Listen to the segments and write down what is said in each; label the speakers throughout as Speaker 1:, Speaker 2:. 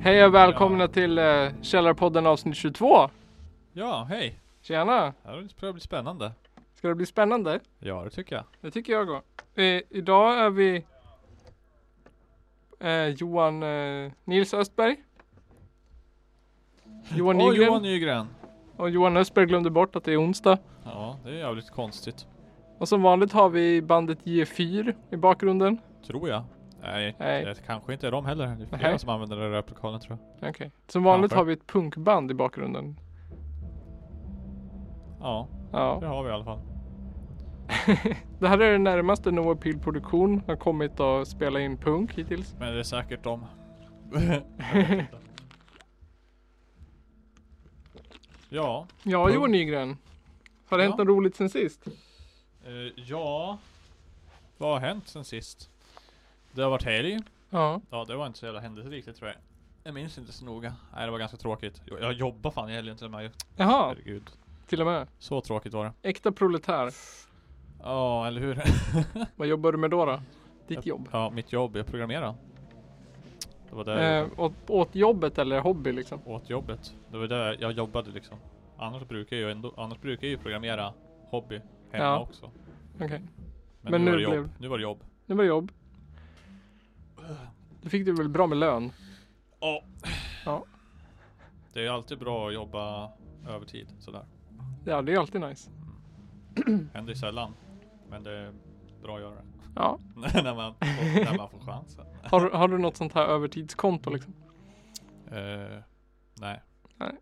Speaker 1: Hej och välkomna till eh, Källarpodden avsnitt 22.
Speaker 2: Ja, hej.
Speaker 1: Tjena!
Speaker 2: Det här börjar bli spännande.
Speaker 1: Ska det bli spännande?
Speaker 2: Ja, det tycker jag.
Speaker 1: Det tycker jag går. Eh, idag är vi eh, Johan eh, Nils Östberg. Johan
Speaker 2: Åh,
Speaker 1: Nygren.
Speaker 2: Johan Nygren.
Speaker 1: Och Johan Östberg glömde bort att det är onsdag.
Speaker 2: Ja, det är jävligt konstigt.
Speaker 1: Och som vanligt har vi bandet G4 i bakgrunden.
Speaker 2: Tror jag. Nej,
Speaker 1: Nej.
Speaker 2: Det kanske inte är de heller. Det är flera
Speaker 1: Nej.
Speaker 2: som använder den där replikalen tror jag.
Speaker 1: Okej. Som vanligt
Speaker 2: Kanske.
Speaker 1: har vi ett punkband i bakgrunden.
Speaker 2: Ja,
Speaker 1: Ja.
Speaker 2: det har vi i alla fall.
Speaker 1: Det här är det närmaste No Appeal Produktion har kommit att spela in punk hittills.
Speaker 2: Men det är säkert de. ja.
Speaker 1: Ja,
Speaker 2: Punk.
Speaker 1: Johan Nygren. Har det hänt
Speaker 2: Ja.
Speaker 1: något roligt sen sist?
Speaker 2: Eh, ja. Vad har hänt sen sist? Det har varit helg.
Speaker 1: Ja.
Speaker 2: Ja, det var inte så jävla händelserikt det tror jag. Jag minns inte så noga. Nej, det var ganska tråkigt. Jag, jag jobbar fan i helgen till och med ju.
Speaker 1: Jaha,
Speaker 2: Herregud.
Speaker 1: till och med.
Speaker 2: Så tråkigt var det.
Speaker 1: Äkta proletär.
Speaker 2: Ja, eller hur?
Speaker 1: Vad jobbar du med då? då? Ditt jobb.
Speaker 2: ja, mitt jobb. Jag programmerar. Det var där jag
Speaker 1: Eh, åt, åt jobbet eller hobby liksom?
Speaker 2: åt jobbet. Det var där jag jobbade liksom. Annars brukar jag ju ändå, annars brukar jag ju programmera hobby hemma
Speaker 1: Ja.
Speaker 2: också.
Speaker 1: Okej. Men
Speaker 2: Men,
Speaker 1: nu
Speaker 2: nu, var det jobb.
Speaker 1: blev-
Speaker 2: Nu var det jobb.
Speaker 1: Det var jobb. Då fick du väl bra med lön?
Speaker 2: Ja.
Speaker 1: Ja.
Speaker 2: Det är ju alltid bra att jobba övertid sådär.
Speaker 1: Ja, det är alltid nice. Mm.
Speaker 2: Händer ju sällan. Men det är bra att göra det.
Speaker 1: Ja.
Speaker 2: när, man får, när man får chansen.
Speaker 1: Har, du- har du något sånt här övertidskonto liksom?
Speaker 2: Eh, nej.
Speaker 1: Nej.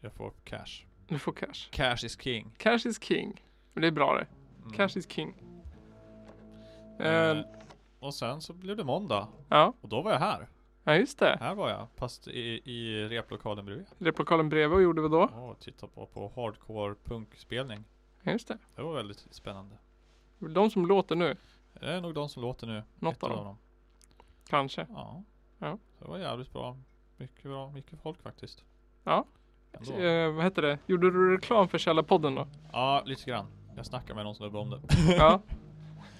Speaker 2: Jag får cash.
Speaker 1: Du får cash.
Speaker 2: Cash is king.
Speaker 1: Cash is king. Men det är bra det.
Speaker 2: Mm.
Speaker 1: Cash is king.
Speaker 2: Eh,
Speaker 1: Eh,
Speaker 2: och sen så blev det måndag.
Speaker 1: ja.
Speaker 2: Och då var jag här.
Speaker 1: ja, just det.
Speaker 2: Här var jag. Fast i, i replokalen bredvid.
Speaker 1: Replokalen bredvid och gjorde vi då?
Speaker 2: Och tittade på, på hardcore punkspelning.
Speaker 1: Ja, just det.
Speaker 2: Det var väldigt spännande.
Speaker 1: De som låter nu,
Speaker 2: Det är nog de som låter nu.
Speaker 1: Något
Speaker 2: Ett
Speaker 1: av dem. kanske.
Speaker 2: Ja.
Speaker 1: Ja.
Speaker 2: Det var jävligt bra. Mycket bra. Mycket folk faktiskt.
Speaker 1: Ja.
Speaker 2: Ändå.
Speaker 1: Eh, vad heter det? Gjorde du reklam för Källarpodden då?
Speaker 2: Ja, lite grann. Jag snackade med någon snubbe om det.
Speaker 1: Ja.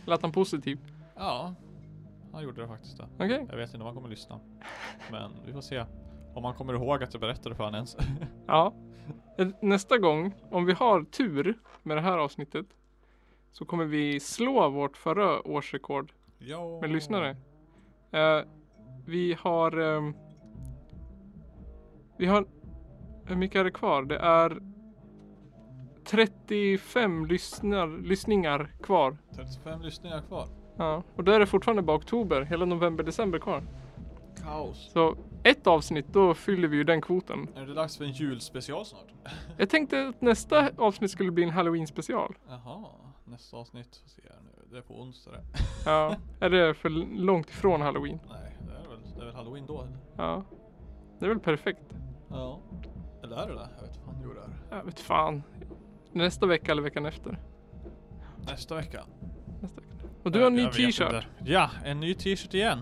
Speaker 1: Lät han positiv?
Speaker 2: ja. Han gjorde det faktiskt. Det.
Speaker 1: Okej.
Speaker 2: Jag vet inte om han kommer lyssna. Men vi får se. Om han kommer ihåg att jag berättade för honom ens.
Speaker 1: Ja. Eh, Nästa gång, om vi har tur med det här avsnittet, så kommer vi slå vårt förra årsrekord
Speaker 2: ja.
Speaker 1: med lyssnare. Eh, vi har... ehm, vi har... Hur mycket är det kvar? Det är 35 lyssnar, lyssningar kvar.
Speaker 2: 35 lyssningar kvar.
Speaker 1: Ja. Och då är det fortfarande bara oktober, hela november, december kvar.
Speaker 2: Kaos.
Speaker 1: Så ett avsnitt, då fyller vi ju den kvoten.
Speaker 2: Är det dags för en julspecial snart?
Speaker 1: Jag tänkte att nästa avsnitt skulle bli en halloween special.
Speaker 2: Jaha. Nästa avsnitt. Får se här nu. Det är på onsdag det.
Speaker 1: Ja, är det för långt ifrån halloween?
Speaker 2: Nej, det är väl, det är väl halloween då eller?
Speaker 1: Ja. Det är väl perfekt.
Speaker 2: Ja. Eller är det det? Jag vet inte vad han gjorde här.
Speaker 1: Jag vet fan. Nästa vecka eller veckan efter?
Speaker 2: Nästa vecka.
Speaker 1: Nästa vecka. Och du har en ny
Speaker 2: Jag vet
Speaker 1: t-shirt.
Speaker 2: inte. Ja, en ny t-shirt igen.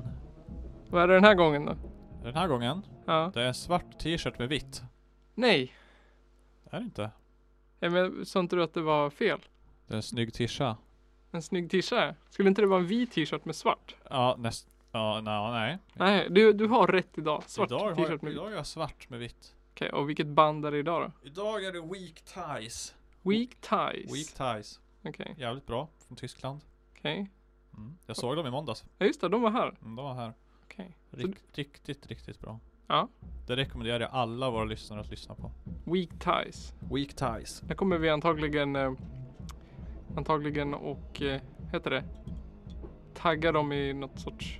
Speaker 1: Vad är det den här gången då?
Speaker 2: Den här gången.
Speaker 1: Ja.
Speaker 2: Det är en svart t-shirt med vitt.
Speaker 1: Nej.
Speaker 2: Är det inte?
Speaker 1: Ja, men sa inte du att det var fel?
Speaker 2: Det är en snygg tisha.
Speaker 1: En snygg t-shirt. Skulle inte det vara en vit t-shirt med svart?
Speaker 2: Ja, näst... Ja, no, nej.
Speaker 1: Nej, du, du har rätt idag. Svart
Speaker 2: idag har,
Speaker 1: t-shirt
Speaker 2: jag,
Speaker 1: med vitt.
Speaker 2: idag är jag svart med vitt.
Speaker 1: Okej, och vilket band är det idag då?
Speaker 2: Idag är det Weak Ties.
Speaker 1: Weak Ties.
Speaker 2: Weak Ties.
Speaker 1: Okej,
Speaker 2: Jävligt bra. Från Tyskland.
Speaker 1: okej.
Speaker 2: Mm. Jag såg dem i måndags.
Speaker 1: Ja just det, de var här.
Speaker 2: Mm, De var här.
Speaker 1: Okej.
Speaker 2: Rik, riktigt, riktigt bra.
Speaker 1: Ja.
Speaker 2: Det rekommenderar jag alla våra lyssnare att lyssna på.
Speaker 1: Weak Ties.
Speaker 2: Weak Ties.
Speaker 1: Där kommer vi antagligen eh, antagligen och eh, heter det tagga dem i något sorts.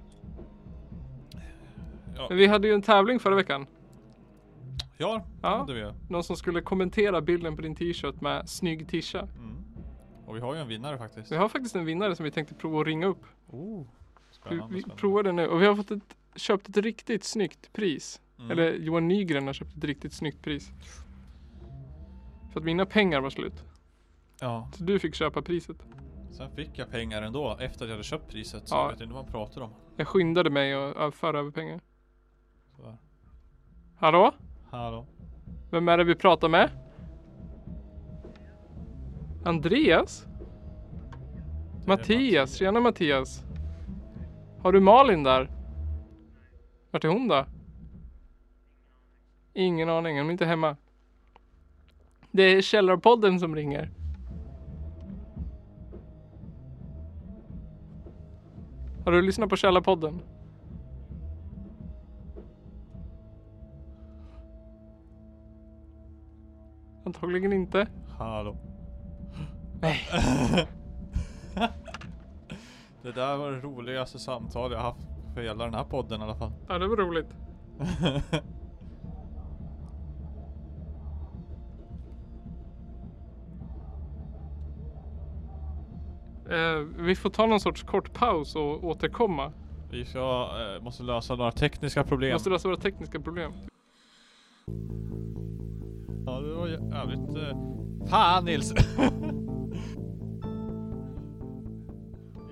Speaker 2: Ja,
Speaker 1: Men vi hade ju en tävling förra veckan.
Speaker 2: ja,
Speaker 1: Ja.
Speaker 2: ja. det gör vi.
Speaker 1: Någon som skulle kommentera bilden på din t-shirt med snygg t-shirt.
Speaker 2: Mm. Och vi har ju en vinnare faktiskt.
Speaker 1: Vi har faktiskt en vinnare som vi tänkte prova att ringa upp.
Speaker 2: Oh.
Speaker 1: Vi,
Speaker 2: Spännande,
Speaker 1: vi
Speaker 2: spännande.
Speaker 1: provar det nu och vi har fått ett, köpt ett riktigt snyggt pris.
Speaker 2: Mm.
Speaker 1: Eller Johan Nygren har köpt ett riktigt snyggt pris. För att mina pengar var slut.
Speaker 2: Ja.
Speaker 1: Så du fick köpa priset.
Speaker 2: Sen fick jag pengar ändå efter att jag hade köpt priset. Så
Speaker 1: Ja.
Speaker 2: jag vet inte vad man pratar om.
Speaker 1: Jag skyndade mig att att föra över pengar.
Speaker 2: Sådär.
Speaker 1: Hallå?
Speaker 2: Hallå.
Speaker 1: Vem är det vi pratar med? Andreas?
Speaker 2: Det är
Speaker 1: Mattias, tjena Mattias. Har du Malin där? Vart är hon då? Ingen aning, hon är inte hemma. Det är Källarpodden som ringer. Har du lyssnat på Källarpodden? Antagligen inte.
Speaker 2: Hallå.
Speaker 1: Nej.
Speaker 2: Det där var det roligaste samtal jag haft för hela den här podden i alla fall.
Speaker 1: Ja, det var roligt. Eh, vi får ta någon sorts kort paus och återkomma.
Speaker 2: Vi ska, eh, måste lösa några tekniska
Speaker 1: Vi
Speaker 2: problem.
Speaker 1: måste lösa våra tekniska problem.
Speaker 2: Ja, det var jävligt... Eh... Fan Nils!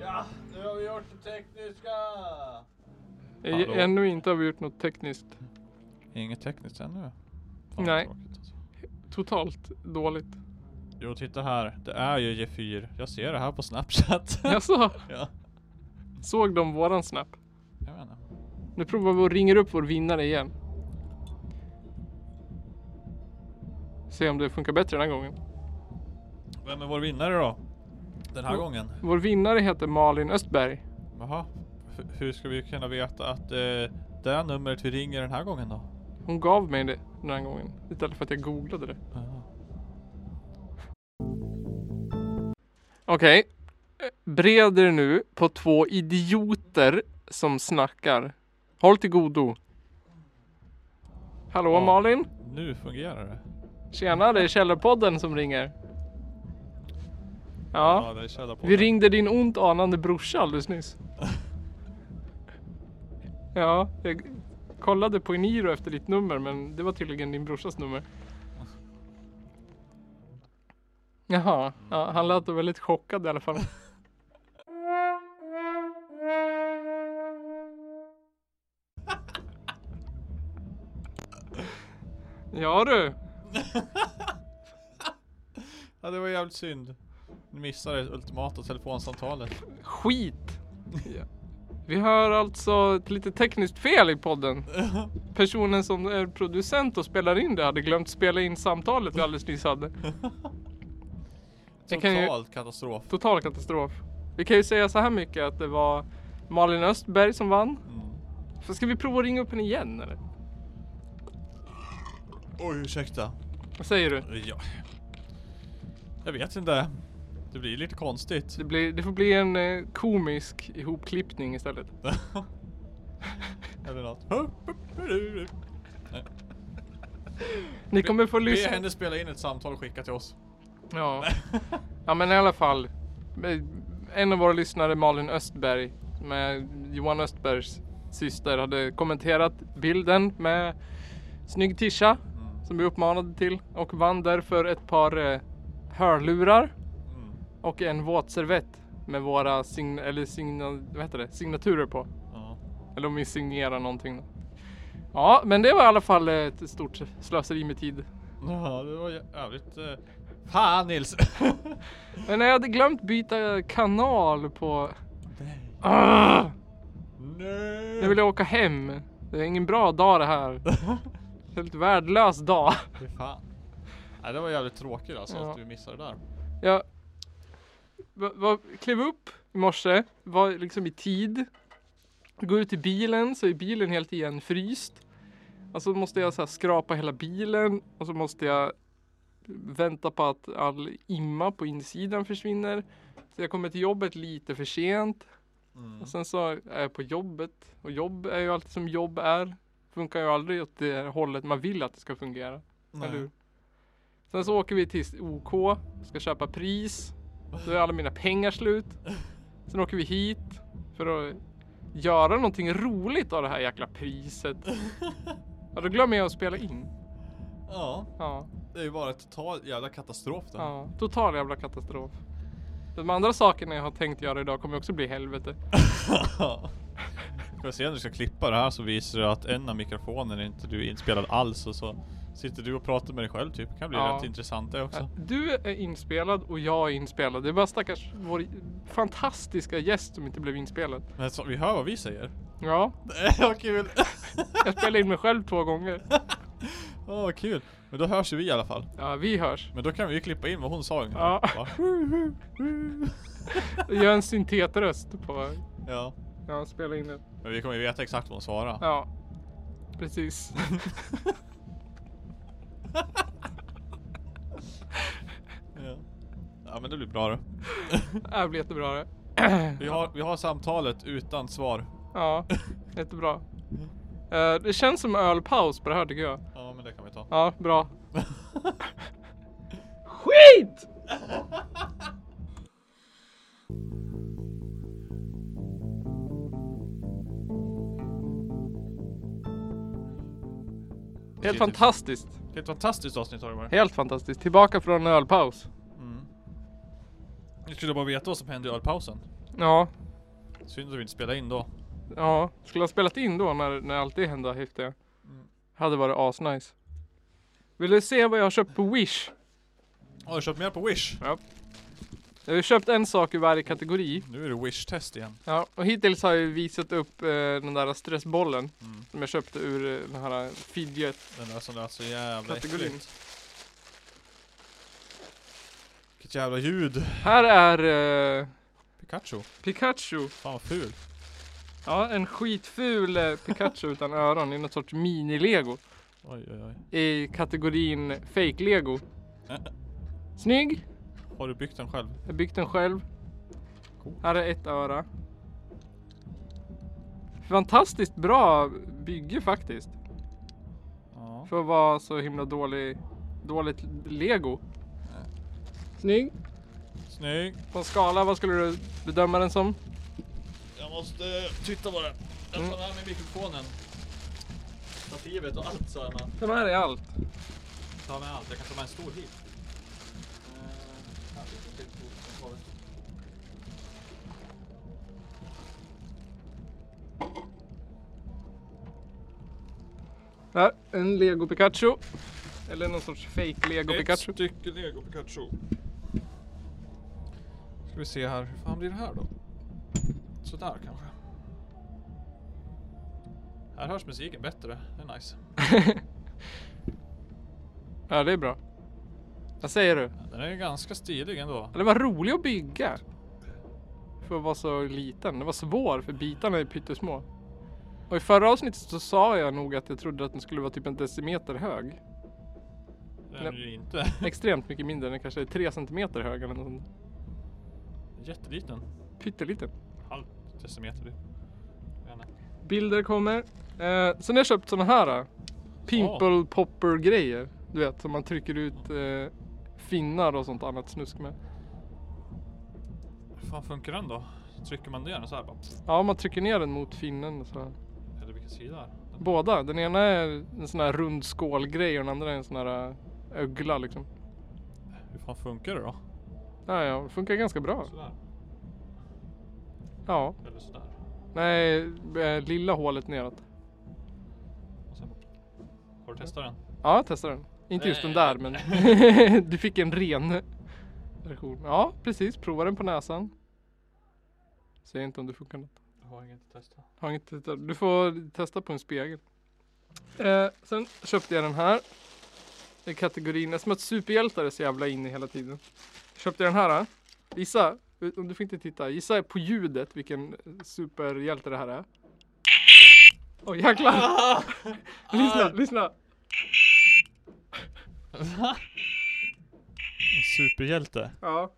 Speaker 2: ja, nu har vi gjort det tekniska!
Speaker 1: Eh,
Speaker 2: Hallå.
Speaker 1: Ännu inte har vi gjort något tekniskt.
Speaker 2: Inget tekniskt ännu. Fan, vad
Speaker 1: Nej.
Speaker 2: tråkigt alltså.
Speaker 1: Totalt dåligt.
Speaker 2: Jo, titta här. Det är ju G4. Jag ser det här på Snapchat.
Speaker 1: Jaså?
Speaker 2: ja,
Speaker 1: Såg de våran snap?
Speaker 2: jag menar.
Speaker 1: Nu provar vi och ringer upp vår vinnare igen. Se om det funkar bättre den här gången.
Speaker 2: Vem är vår vinnare då? Den här
Speaker 1: Jo.
Speaker 2: gången?
Speaker 1: Vår vinnare heter Malin Östberg.
Speaker 2: Jaha. H- hur ska vi kunna veta att eh, det är numret vi ringer den här gången då?
Speaker 1: Hon gav mig det den här gången. Istället för att jag googlade det.
Speaker 2: Jaha.
Speaker 1: Okej. Eh, Bred er nu på två idioter som snackar. Håll till godo. Hallå
Speaker 2: Ja.
Speaker 1: Malin.
Speaker 2: Nu fungerar det.
Speaker 1: Tjena, det är Källarpodden som ringer. Ja,
Speaker 2: det är källarpodden.
Speaker 1: vi ringde din ont anande brorsa alldeles nyss. Ja, jag kollade på Eniro efter ditt nummer men det var tydligen din brorsas nummer. Jaha, ja, han lät väldigt chockad i alla fall. Ja du,
Speaker 2: Ja, det var jävligt synd. Ni missade det ultimata telefonsamtalet.
Speaker 1: skit! Vi har alltså ett lite tekniskt fel i podden. Personen som är producent och spelar in det hade glömt spela in samtalet vi alldeles nyss hade. Jag kan ju-
Speaker 2: Total katastrof.
Speaker 1: Total katastrof. Vi kan ju säga så här mycket att det var Malin Östberg som vann.
Speaker 2: Mm.
Speaker 1: Så ska vi prova att ringa upp henne igen eller?
Speaker 2: Oj, ursäkta.
Speaker 1: Vad säger du?
Speaker 2: Ja. Jag vet inte. Det blir lite konstigt.
Speaker 1: Det, blir, det får bli en eh, komisk ihopklippning istället.
Speaker 2: Eller något.
Speaker 1: Ni kommer få
Speaker 2: Be
Speaker 1: lyssna.
Speaker 2: henne spela in ett samtal och skicka till oss. Mm.
Speaker 1: Ja. ja men i alla fall. Eh, En av våra lyssnare Malin Östberg med Johan Östbergs syster hade kommenterat bilden med snygg tisha
Speaker 2: Mm.
Speaker 1: som vi uppmanade till och vann därför ett par eh, hörlurar
Speaker 2: Mm.
Speaker 1: och en våtservett med våra sign- eller signa- vad heter det? signaturer på.
Speaker 2: Ja.
Speaker 1: Eller om vi signerar någonting. då. Ja, men det var i alla fall ett stort slöseri med tid.
Speaker 2: ja, det var jävligt... eh, Fan Nils!
Speaker 1: Men jag hade glömt byta kanal på...
Speaker 2: Nej.
Speaker 1: Arr!
Speaker 2: Nej.
Speaker 1: Nu vill jag åka hem. Det är ingen bra dag det här. Helt värdelös dag.
Speaker 2: Fy fan. Nej, det var jävligt tråkigt alltså
Speaker 1: Ja.
Speaker 2: att du missade det där.
Speaker 1: Jag va, va, klev upp i morse, var liksom i tid. Går ut i bilen så är bilen helt igen fryst. Och så måste jag så här skrapa hela bilen och så måste jag vänta på att all imma på insidan försvinner. Så jag kommer till jobbet lite för sent.
Speaker 2: Mm.
Speaker 1: Och sen så är jag på jobbet. Och jobb är ju alltid som jobb är. Funkar ju aldrig åt det hållet man vill att det ska fungera. Eller hur? Sen så åker vi till OK, ska köpa pris. Då är alla mina pengar slut. Sen åker vi hit för att göra någonting roligt av det här jäkla priset. Ja, då glömmer jag att spela in.
Speaker 2: Ja,
Speaker 1: Ja,
Speaker 2: det är ju bara ett total jävla katastrof det.
Speaker 1: ja. Total jävla katastrof. De andra sakerna jag har tänkt göra idag kommer också bli helvete.
Speaker 2: Ska vi se när du ska klippa det här så visar det att en av mikrofonerna är inte du inspelad alls och så Sitter du och pratar med dig själv typ? kan bli
Speaker 1: Ja.
Speaker 2: rätt intressant det också.
Speaker 1: Du är inspelad och jag är inspelad. Det är bara stackars vår fantastiska gäst som inte blev inspelad.
Speaker 2: Men så, vi hör vad vi säger.
Speaker 1: Ja,
Speaker 2: Vad kul!
Speaker 1: jag spelade in mig själv två gånger.
Speaker 2: Åh vad kul! Men då hörs ju vi i alla fall.
Speaker 1: Ja, vi hörs.
Speaker 2: Men då kan vi ju klippa in vad hon sa ungefär.
Speaker 1: Ja.
Speaker 2: Va?
Speaker 1: Gör en syntetröst på...
Speaker 2: ja.
Speaker 1: Ja, spela in den.
Speaker 2: Men vi kommer ju veta exakt vad hon svarar.
Speaker 1: Ja, precis.
Speaker 2: Ja. ja men det blir bra det.
Speaker 1: Det här blir jättebra det.
Speaker 2: Vi har, vi har samtalet utan svar.
Speaker 1: Ja, jättebra. Eh, Det känns som ölpaus på det här tycker jag.
Speaker 2: Ja men det kan vi ta.
Speaker 1: Ja, bra. Skit! Helt fantastiskt.
Speaker 2: Det är ett fantastiskt avsnitt har det varit.
Speaker 1: Helt fantastiskt. Tillbaka från en ölpaus.
Speaker 2: Vi skulle bara veta vad som hände i ölpausen.
Speaker 1: Ja,
Speaker 2: Synd att vi inte spelade in då.
Speaker 1: ja. Skulle ha spelat in då när, när allt det hände, häftiga. Hade varit asnice. Vill du se vad jag har köpt på Wish?
Speaker 2: Har du köpt mer på Wish?
Speaker 1: Jag har ju köpt en sak i varje kategori.
Speaker 2: Nu är det Wish-test igen.
Speaker 1: Ja, och hittills har jag ju visat upp eh, den där stressbollen
Speaker 2: Mm.
Speaker 1: som jag köpte ur eh, den här fidget.
Speaker 2: Den där som lät så jävla
Speaker 1: Kategorin.
Speaker 2: äckligt. Vilket jävla ljud.
Speaker 1: Här är eh,
Speaker 2: Pikachu.
Speaker 1: Pikachu.
Speaker 2: Fan vad ful.
Speaker 1: Ja, en skitful eh, Pikachu utan öron i något sorts mini-lego.
Speaker 2: Oj oj oj.
Speaker 1: I kategorin fake-lego. Snygg!
Speaker 2: Har du byggt den själv?
Speaker 1: Jag har byggt den själv.
Speaker 2: Cool.
Speaker 1: Här är ett öra. Fantastiskt bra bygge faktiskt.
Speaker 2: Ja.
Speaker 1: För att vara så himla dålig, dåligt lego. Snygg.
Speaker 2: Snygg.
Speaker 1: På en skala, vad skulle du bedöma den som?
Speaker 2: Jag måste titta på den. Jag
Speaker 1: Mm.
Speaker 2: tar med mig mikrofonen. Stativet och allt så här med.
Speaker 1: Den här är allt.
Speaker 2: Ta med allt. Jag kan ta med en stor hit. Eh, här, det är en stor som tar det.
Speaker 1: Här, en lego Pikachu. Eller någon sorts fake lego Pikachu.
Speaker 2: Ett stycke Lego Pikachu. Ska vi se här, hur fan blir det här då? Sådär kanske. Här hörs musiken bättre, det är nice.
Speaker 1: Ja, det är bra. Vad säger du?
Speaker 2: Den är ju ganska stilig ändå.
Speaker 1: Ja, Den var rolig att bygga. För att vara så liten. Den var svår för bitarna är pyttesmå. Och i förra avsnittet så sa jag nog att jag trodde att den skulle vara typ en decimeter hög.
Speaker 2: Den är ju inte
Speaker 1: Extremt mycket mindre. Den kanske är tre centimeter hög eller något sånt.
Speaker 2: jätteliten.
Speaker 1: Pytteliten.
Speaker 2: Halv decimeter. typ. Jag vet inte.
Speaker 1: Bilder kommer. Eh, sen har jag köpt såna här. eh, Pimple popper grejer. Du vet som man trycker ut eh, finnar och sånt annat snusk med.
Speaker 2: Hur fan funkar den då? Trycker man ner den så här bara? pff,
Speaker 1: Ja man trycker ner den mot finnen och så här.
Speaker 2: Eller vilken sida är det? Den-
Speaker 1: Båda. Den ena är en sån här rund skålgrej och den andra är en sån här eh, ögla liksom.
Speaker 2: Hur fan funkar det då?
Speaker 1: Ja, ja, det funkar ganska bra.
Speaker 2: Sådär?
Speaker 1: Ja.
Speaker 2: Eller sådär?
Speaker 1: Nej, eh, lilla hålet neråt.
Speaker 2: Och sen bara... Har du testat den?
Speaker 1: Ja, jag testar den. Inte just den där, men du fick en ren version. Ja, precis. Prova den på näsan. Säg inte om det funkar något.
Speaker 2: Jag har inget att testa.
Speaker 1: Har inte testat. Du får testa på en spegel. Eh, sen köpte jag den här. I kategorin, det är som att superhjältar är så jävla inne hela tiden. Köpte jag den här. eh. Gissa, om du får inte titta. Gissa på ljudet vilken eh, superhjälte det här är. Åh jäklar! Lyssna, lyssna!
Speaker 2: Superhjälte.
Speaker 1: Ja.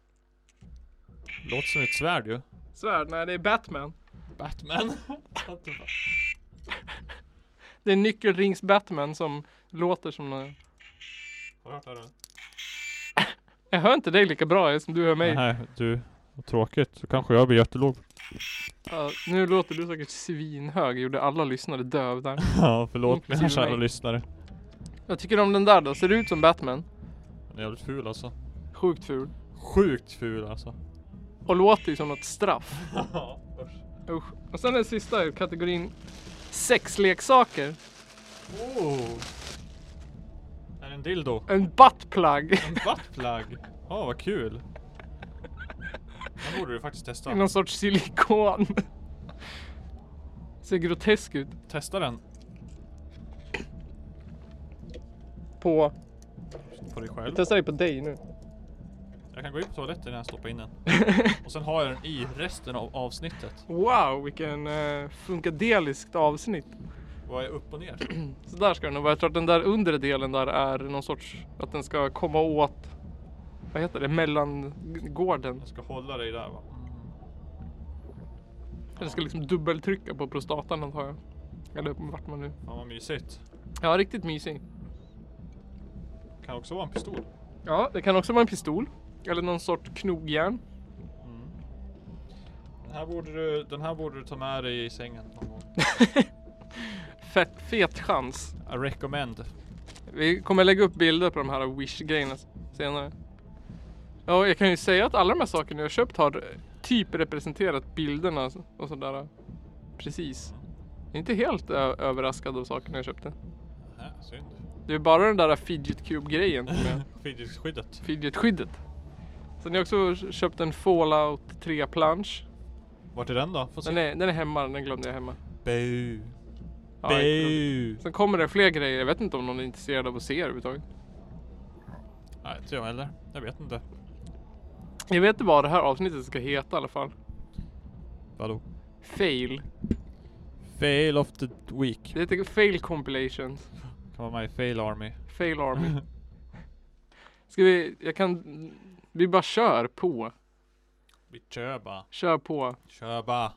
Speaker 2: Låter som ett svärd ju.
Speaker 1: Svärd? Nej, det är Batman.
Speaker 2: Batman.
Speaker 1: Det är nyckelrings Batman som låter som eh, någon...
Speaker 2: Har du hört det här?
Speaker 1: Jag hör inte dig lika bra som du hör mig.
Speaker 2: Nej, du. Vad tråkigt. Så kanske jag blir jättelåg.
Speaker 1: Ja, nu låter du säkert svinhög. Gjorde alla lyssnare dövda.
Speaker 2: ja, förlåt mina
Speaker 1: Inklusive
Speaker 2: kära
Speaker 1: mig.
Speaker 2: lyssnare.
Speaker 1: Jag tycker om den där då. Ser du ut som Batman?
Speaker 2: Den är jävligt ful alltså.
Speaker 1: Sjukt ful.
Speaker 2: Sjukt ful alltså.
Speaker 1: Och låter ju som något straff.
Speaker 2: Ja,
Speaker 1: Usch. Och sen den sista i kategorin sexleksaker.
Speaker 2: oh. En dildo.
Speaker 1: En buttplug.
Speaker 2: En buttplug. Ja, vad kul. Den borde du faktiskt
Speaker 1: i
Speaker 2: testa.
Speaker 1: Någon sorts silikon. Ser grotesk ut.
Speaker 2: Testa den
Speaker 1: På...
Speaker 2: på dig själv.
Speaker 1: Jag testar det på dig nu.
Speaker 2: Jag kan gå in på toaletten innan jag stoppar in den. Och sen har jag den i resten av avsnittet.
Speaker 1: Wow, vilken eh, funkadeliskt avsnitt.
Speaker 2: Vad är upp och ner?
Speaker 1: Så där ska den vara. Jag tror att den där undre delen där är någon sorts... Att den ska komma åt... Vad heter det? Mellangården.
Speaker 2: Jag ska hålla dig där va? Mm.
Speaker 1: Den ska liksom dubbeltrycka på prostatan antar jag. Eller vart man nu...
Speaker 2: Fan vad mysigt.
Speaker 1: Ja, riktigt mysig.
Speaker 2: Kan också vara en pistol.
Speaker 1: Ja, det kan också vara en pistol. Eller någon sorts knogjärn.
Speaker 2: Mm. Den här borde du, den här borde du ta med dig i sängen någon gång.
Speaker 1: Fett, fet chans.
Speaker 2: I recommend.
Speaker 1: Vi kommer lägga upp bilder på de här wish-grejerna senare. Ja, jag kan ju säga att alla de här sakerna jag köpt har typ representerat bilderna och sådär. Precis. Jag är inte helt ö- överraskad av sakerna jag köpte.
Speaker 2: Nähä, Äh, synd.
Speaker 1: Det är bara den där fidget cube-grejen som jag...
Speaker 2: Fidgetskyddet.
Speaker 1: Fidget-skyddet. Sen har jag också köpt en Fallout 3-plansch.
Speaker 2: Vart är den då? Få se.
Speaker 1: Den är, den är hemma, den glömde jag hemma.
Speaker 2: Bu.
Speaker 1: Ja, jag glömde.
Speaker 2: Bu.
Speaker 1: Sen kommer det fler grejer, jag vet inte om någon är intresserad av att se överhuvudtaget.
Speaker 2: Nej, inte jag heller. Jag vet inte.
Speaker 1: Jag vet inte vad det här avsnittet ska heta i alla fall.
Speaker 2: Vadå?
Speaker 1: Fail.
Speaker 2: Fail of the week.
Speaker 1: Det heter Fail Compilations.
Speaker 2: Kan vara med i Fail Army.
Speaker 1: Fail Army. Ska vi, jag kan, vi bara kör på.
Speaker 2: Vi kör bara.
Speaker 1: Kör på.
Speaker 2: Kör bara.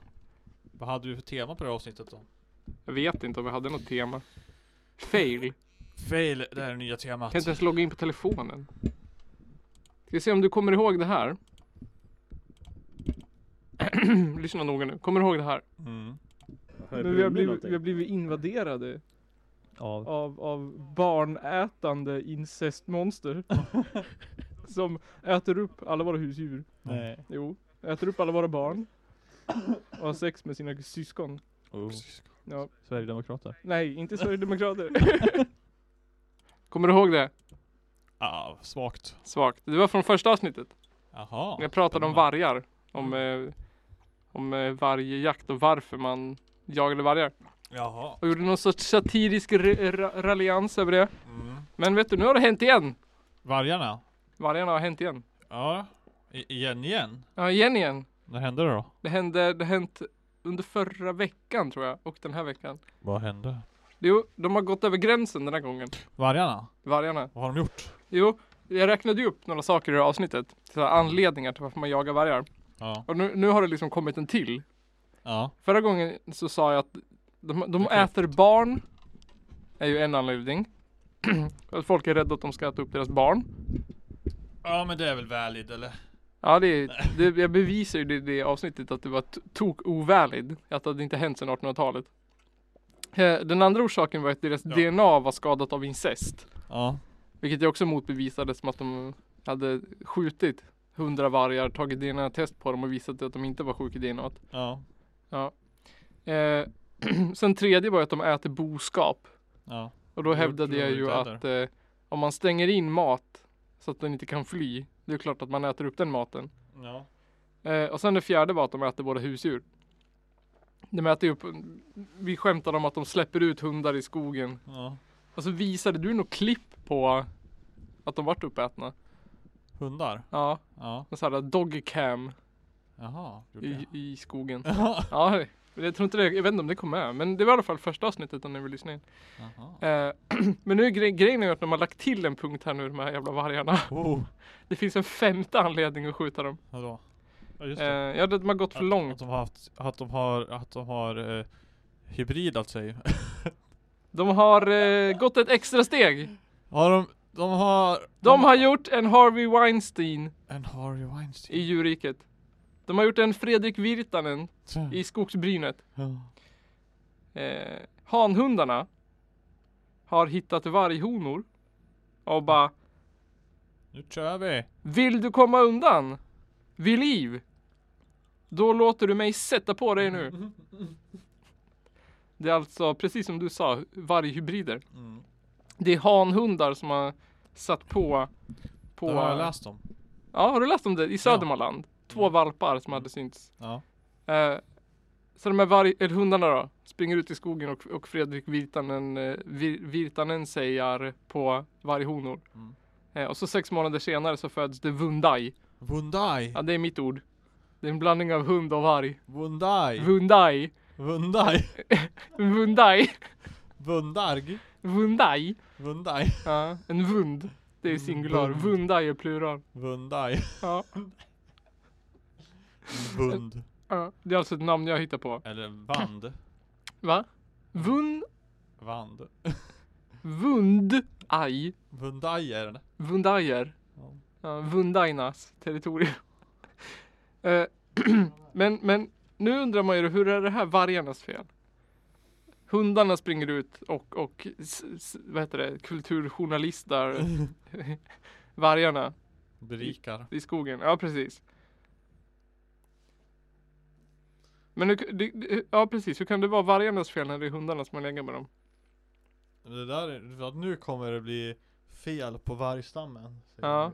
Speaker 2: Vad hade du för tema på det här avsnittet då?
Speaker 1: Jag vet inte om vi hade något tema. Fail. Kan
Speaker 2: Fail, det här är det nya temat.
Speaker 1: inte ens logga in på telefonen. Ska vi se om du kommer ihåg det här. Lyssna noga nu. Kommer du ihåg det här?
Speaker 2: Mm.
Speaker 1: Men vi, har blivit, vi har blivit invaderade
Speaker 2: Av.
Speaker 1: av, av barnätande incestmonster. som äter upp alla våra husdjur.
Speaker 2: Nej.
Speaker 1: Jo, äter upp alla våra barn. Och har sex med sina syskon.
Speaker 2: Oh.
Speaker 1: Ja.
Speaker 2: Sverigedemokrater.
Speaker 1: Nej, inte Sverigedemokrater. Kommer du ihåg det?
Speaker 2: Ah, svagt.
Speaker 1: Svagt. Det var från första avsnittet.
Speaker 2: Jaha.
Speaker 1: Jag pratade om vargar. Om, eh, om eh, vargjakt och varför man jagade vargar.
Speaker 2: Jaha.
Speaker 1: Och gjorde någon sorts satirisk r- ra- raljans över det.
Speaker 2: Mm.
Speaker 1: Men vet du, nu har det hänt igen.
Speaker 2: Vargarna?
Speaker 1: Vargarna har hänt igen.
Speaker 2: Ja. I- igen igen?
Speaker 1: Ja, igen igen.
Speaker 2: När hände det då?
Speaker 1: Det hände, det hänt under förra veckan tror jag. Och den här veckan.
Speaker 2: Vad hände?
Speaker 1: Jo, de har gått över gränsen den här gången.
Speaker 2: Vargarna?
Speaker 1: Vargarna.
Speaker 2: Vad har de gjort?
Speaker 1: Jo, jag räknade ju upp några saker i det här avsnittet. Så här anledningar till varför man jagar vargar.
Speaker 2: Ja.
Speaker 1: Och nu, nu har det liksom kommit en till.
Speaker 2: Ja.
Speaker 1: Förra gången så sa jag att de, de
Speaker 2: Det är
Speaker 1: äter barn. Är ju en anledning. att folk är rädda att de ska äta upp deras barn.
Speaker 2: Ja men det är väl valid eller?
Speaker 1: Ja, det, är- det, jag bevisar ju det, det avsnittet att det var t- tok-ovälid. Att det hade inte hänt sedan 1800-talet. Eh, Den andra orsaken var att deras
Speaker 2: Ja.
Speaker 1: DNA var skadat av incest.
Speaker 2: Ja.
Speaker 1: Vilket jag också motbevisade som att de hade skjutit hundra vargar, tagit DNA-test på dem och visat att de inte var sjuka i DNA.
Speaker 2: Ja.
Speaker 1: Eh, sen tredje var ju att de äter boskap.
Speaker 2: Ja.
Speaker 1: Och då
Speaker 2: Det
Speaker 1: hävdade
Speaker 2: tror
Speaker 1: jag
Speaker 2: jag
Speaker 1: ju
Speaker 2: inte
Speaker 1: att eh, om man stänger in mat så att den inte kan fly, det är klart att man äter upp den maten.
Speaker 2: Ja.
Speaker 1: Eh, och sen det fjärde var att de äter våra husdjur. De äter ju upp, vi skämtade om att de släpper ut hundar i skogen.
Speaker 2: ja.
Speaker 1: Och så visade du nog klipp på att de vart uppätna.
Speaker 2: Hundar?
Speaker 1: Ja,
Speaker 2: Ja.
Speaker 1: en sån här dogcam
Speaker 2: Jaha. Gjorde
Speaker 1: i,
Speaker 2: jag.
Speaker 1: i skogen.
Speaker 2: Jaha.
Speaker 1: Ja, men jag tror inte det, jag vet inte om det kom med. Men det var i alla fall första avsnittet om ni vill lyssna in.
Speaker 2: Jaha.
Speaker 1: Eh, men nu är gre- grejen är att de har lagt till en punkt här nu, de här jävla vargarna.
Speaker 2: Oh.
Speaker 1: Det finns en femte anledning att skjuta dem.
Speaker 2: Vadå? Ja just
Speaker 1: Eh,
Speaker 2: det.
Speaker 1: ja, det- de har gått för
Speaker 2: Att-
Speaker 1: långt.
Speaker 2: Att de har haft, att de har, att de har eh, alltså. hybridat sig.
Speaker 1: De har eh, gått ett extra steg.
Speaker 2: Har de, de har...
Speaker 1: De har gjort en Harvey Weinstein
Speaker 2: En Harvey
Speaker 1: i
Speaker 2: Weinstein.
Speaker 1: djurriket. De har gjort en Fredrik Virtanen i skogsbrynet.
Speaker 2: Ja.
Speaker 1: Eh, hanhundarna har hittat varghonor och bara
Speaker 2: Nu kör vi!
Speaker 1: Vill du komma undan? Vid liv? Då låter du mig sätta på dig nu. Det är alltså precis som du sa, varghybrider.
Speaker 2: Mm.
Speaker 1: Det är hanhundar som har satt på på
Speaker 2: Då har jag läst Mm. om.
Speaker 1: Ja, har du läst om det? I Södermanland. Två valpar som hade synts.
Speaker 2: Ja.
Speaker 1: Eh, så de här varg, eller hundarna då, springer ut i skogen och, och Fredrik Virtanen, eh, vir, Virtanen säger på varghonor.
Speaker 2: Mm.
Speaker 1: Eh, och så sex månader senare så föds det Vundai.
Speaker 2: Wundai!
Speaker 1: Ja, det är mitt ord. Det är en blandning av hund och varg.
Speaker 2: Wundai!
Speaker 1: Vundai.
Speaker 2: Wundai!
Speaker 1: Vundai.
Speaker 2: Wundarg!
Speaker 1: Vundai.
Speaker 2: Wundai!
Speaker 1: Ja, en vund. Det är singular.
Speaker 2: Vund.
Speaker 1: Vundai är plural.
Speaker 2: Wundai!
Speaker 1: Ja,
Speaker 2: Wund.
Speaker 1: ja. Det är alltså ett namn jag hittar på.
Speaker 2: Eller Vand.
Speaker 1: Va? Vund.
Speaker 2: Vand.
Speaker 1: Vundai.
Speaker 2: Wundai är det.
Speaker 1: Vundajer.
Speaker 2: Ja.
Speaker 1: Ja, Vundainas territorium. Eh, men, men nu undrar man ju hur är det här vargarnas fel? Hundarna springer ut och, och s, s, vad heter det, kulturjournalistar vargarna
Speaker 2: Berikar.
Speaker 1: i skogen. Ja, precis. Men hur, det, det, ja, precis. Hur kan det vara vargarnas fel när det är hundarna som har legat med dem?
Speaker 2: Det där är, för att nu kommer det bli fel på vargstammen. säger
Speaker 1: Ja.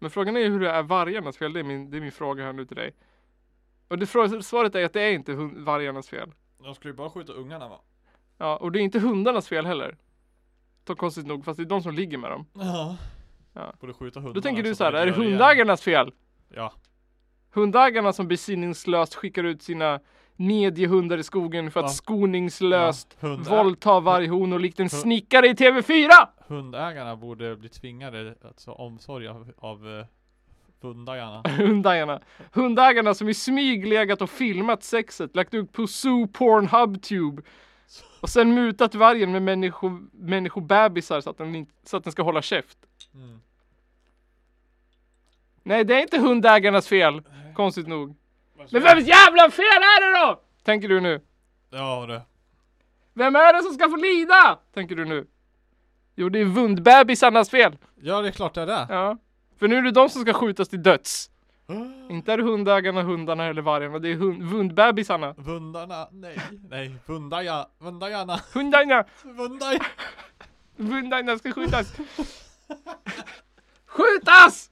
Speaker 1: Men frågan är ju hur det är vargarnas fel. Det är min, det är min fråga här nu till dig. Och det, frå- svaret är att det är inte hund, vargarnas fel.
Speaker 2: jag. De skulle ju bara skjuta ungarna va?
Speaker 1: Ja, och det är inte hundarnas fel heller. Så konstigt nog, fast det är de som ligger med dem.
Speaker 2: Ja.
Speaker 1: Ja.
Speaker 2: Borde skjuta hundarna.
Speaker 1: Då tänker du
Speaker 2: också,
Speaker 1: så här,
Speaker 2: men
Speaker 1: är det
Speaker 2: gör igen.
Speaker 1: hundägarnas fel?
Speaker 2: Ja.
Speaker 1: Hundägarna som besinningslöst skickar ut sina mediehundar i skogen för att
Speaker 2: Ja.
Speaker 1: skoningslöst
Speaker 2: Ja, hundä-
Speaker 1: våldta varghonor likt en
Speaker 2: Hu-
Speaker 1: snickare i TV4!
Speaker 2: Hundägarna borde bli tvingade att ta omsorg av, av eh, hundägarna.
Speaker 1: Hundägarna. Hundägarna som i smyg legat och filmat sexet, lagt ut på Zoo Pornhub Tube. Och sen mutat vargen med människo, människobebisar så att, den inte, så att den ska hålla käft.
Speaker 2: Mm.
Speaker 1: Nej, det är inte hundägarnas fel. Konstigt nog. Men vems jävla fel är det då? Tänker du nu.
Speaker 2: Ja du.
Speaker 1: Vem är det som ska få lida? Tänker du nu. Jo, det är vundbebisarnas fel.
Speaker 2: Ja det är klart det är det.
Speaker 1: Ja. För nu är det de som ska skjutas till döds. Inte är det hundägarna, hundarna eller vargarna. Det är hund, vundbebisarna.
Speaker 2: Vundarna, nej, nej, vundaja, vundajarna,
Speaker 1: Hundarna!
Speaker 2: vundaj,
Speaker 1: Hundarna ska skjutas! skjutas!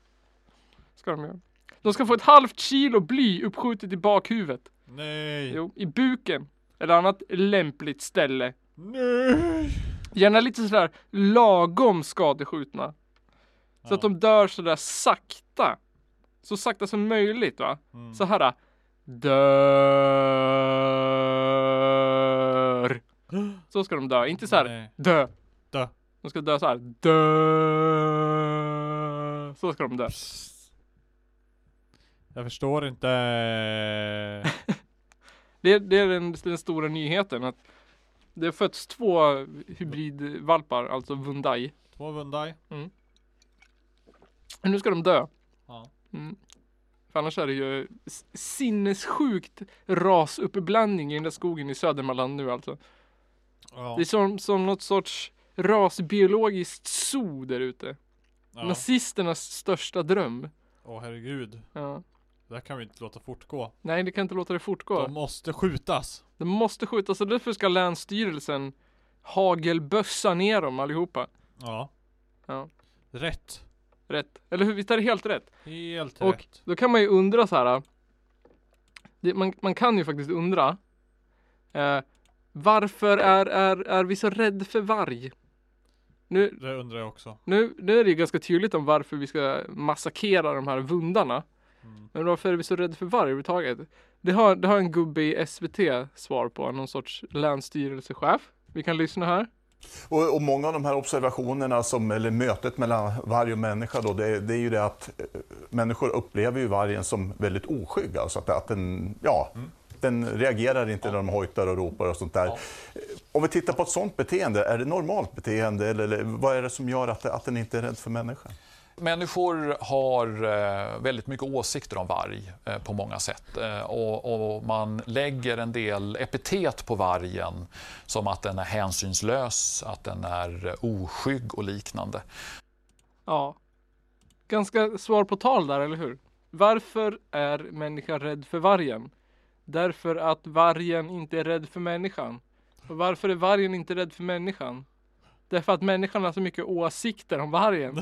Speaker 1: Ska de göra. De ska få ett halvt kilo bly uppskjutet i bakhuvudet.
Speaker 2: nej,
Speaker 1: Jo, i buken. Eller annat lämpligt ställe.
Speaker 2: nej.
Speaker 1: Gärna lite sådär lagom skadeskjutna. Så
Speaker 2: Ja.
Speaker 1: att de dör sådär sakta. Så sakta som möjligt va.
Speaker 2: Mm.
Speaker 1: Så här. Dör. Så ska de dö. Inte så här.
Speaker 2: Nej.
Speaker 1: Dö.
Speaker 2: Dö.
Speaker 1: De ska dö så här. Dö. Så ska de dö.
Speaker 2: Jag förstår inte.
Speaker 1: Det, det är den, den stora nyheten. Att det har fötts två hybridvalpar. Alltså Vundai.
Speaker 2: Två vundaj.
Speaker 1: Men nu ska de dö.
Speaker 2: Ja.
Speaker 1: Mm. För annars är det ju s- sinnessjukt rasuppblandning i den där skogen i Södermanland nu alltså.
Speaker 2: Ja.
Speaker 1: Det är som, som något sorts rasbiologiskt zoo där ute.
Speaker 2: ja.
Speaker 1: Nazisternas största dröm.
Speaker 2: Åh herregud.
Speaker 1: Ja.
Speaker 2: Det här kan vi inte låta fortgå.
Speaker 1: Nej, det kan inte låta det fortgå.
Speaker 2: De måste skjutas.
Speaker 1: Det måste skjutas och därför ska Länsstyrelsen hagelbössa ner dem allihopa.
Speaker 2: Ja.
Speaker 1: Ja.
Speaker 2: Rätt.
Speaker 1: Rätt. Eller hur? Visst är det helt rätt?
Speaker 2: Helt
Speaker 1: Och-
Speaker 2: rätt.
Speaker 1: Då kan man ju undra så här. Det, man, man kan ju faktiskt undra. Eh, varför är, är, är vi så rädd för varg? Nu,
Speaker 2: Det undrar jag också.
Speaker 1: nu, nu är det ju ganska tydligt om varför vi ska massakrera de här vundarna.
Speaker 2: Mm.
Speaker 1: Men varför är vi så rädda för varg överhuvudtaget? Det har, det har en gubbe i SVT svar på, någon sorts länsstyrelsechef. Vi kan lyssna här.
Speaker 3: Och, och många av de här observationerna, som, eller mötet mellan varg och människa, då, det, det är ju det att eh, människor upplever ju vargen som väldigt oskygg. Alltså att, att den, ja, den reagerar inte när de hojtar och ropar och sånt där. Eh, Om vi tittar på ett sånt beteende, är det normalt beteende eller, eller vad är det som gör att, att den inte är rädd för människan?
Speaker 4: Människor har eh, väldigt mycket åsikter om varg eh, på många sätt. Eh, och, och man lägger en del epitet på vargen som att den är hänsynslös, att den är eh, oskygg och liknande.
Speaker 1: Ja. Ganska svar på tal där, eller hur? Varför är människan rädd för vargen? Därför att vargen inte är rädd för människan. Och varför är vargen inte rädd för människan? Det är för att människan har så mycket åsikter om vargen.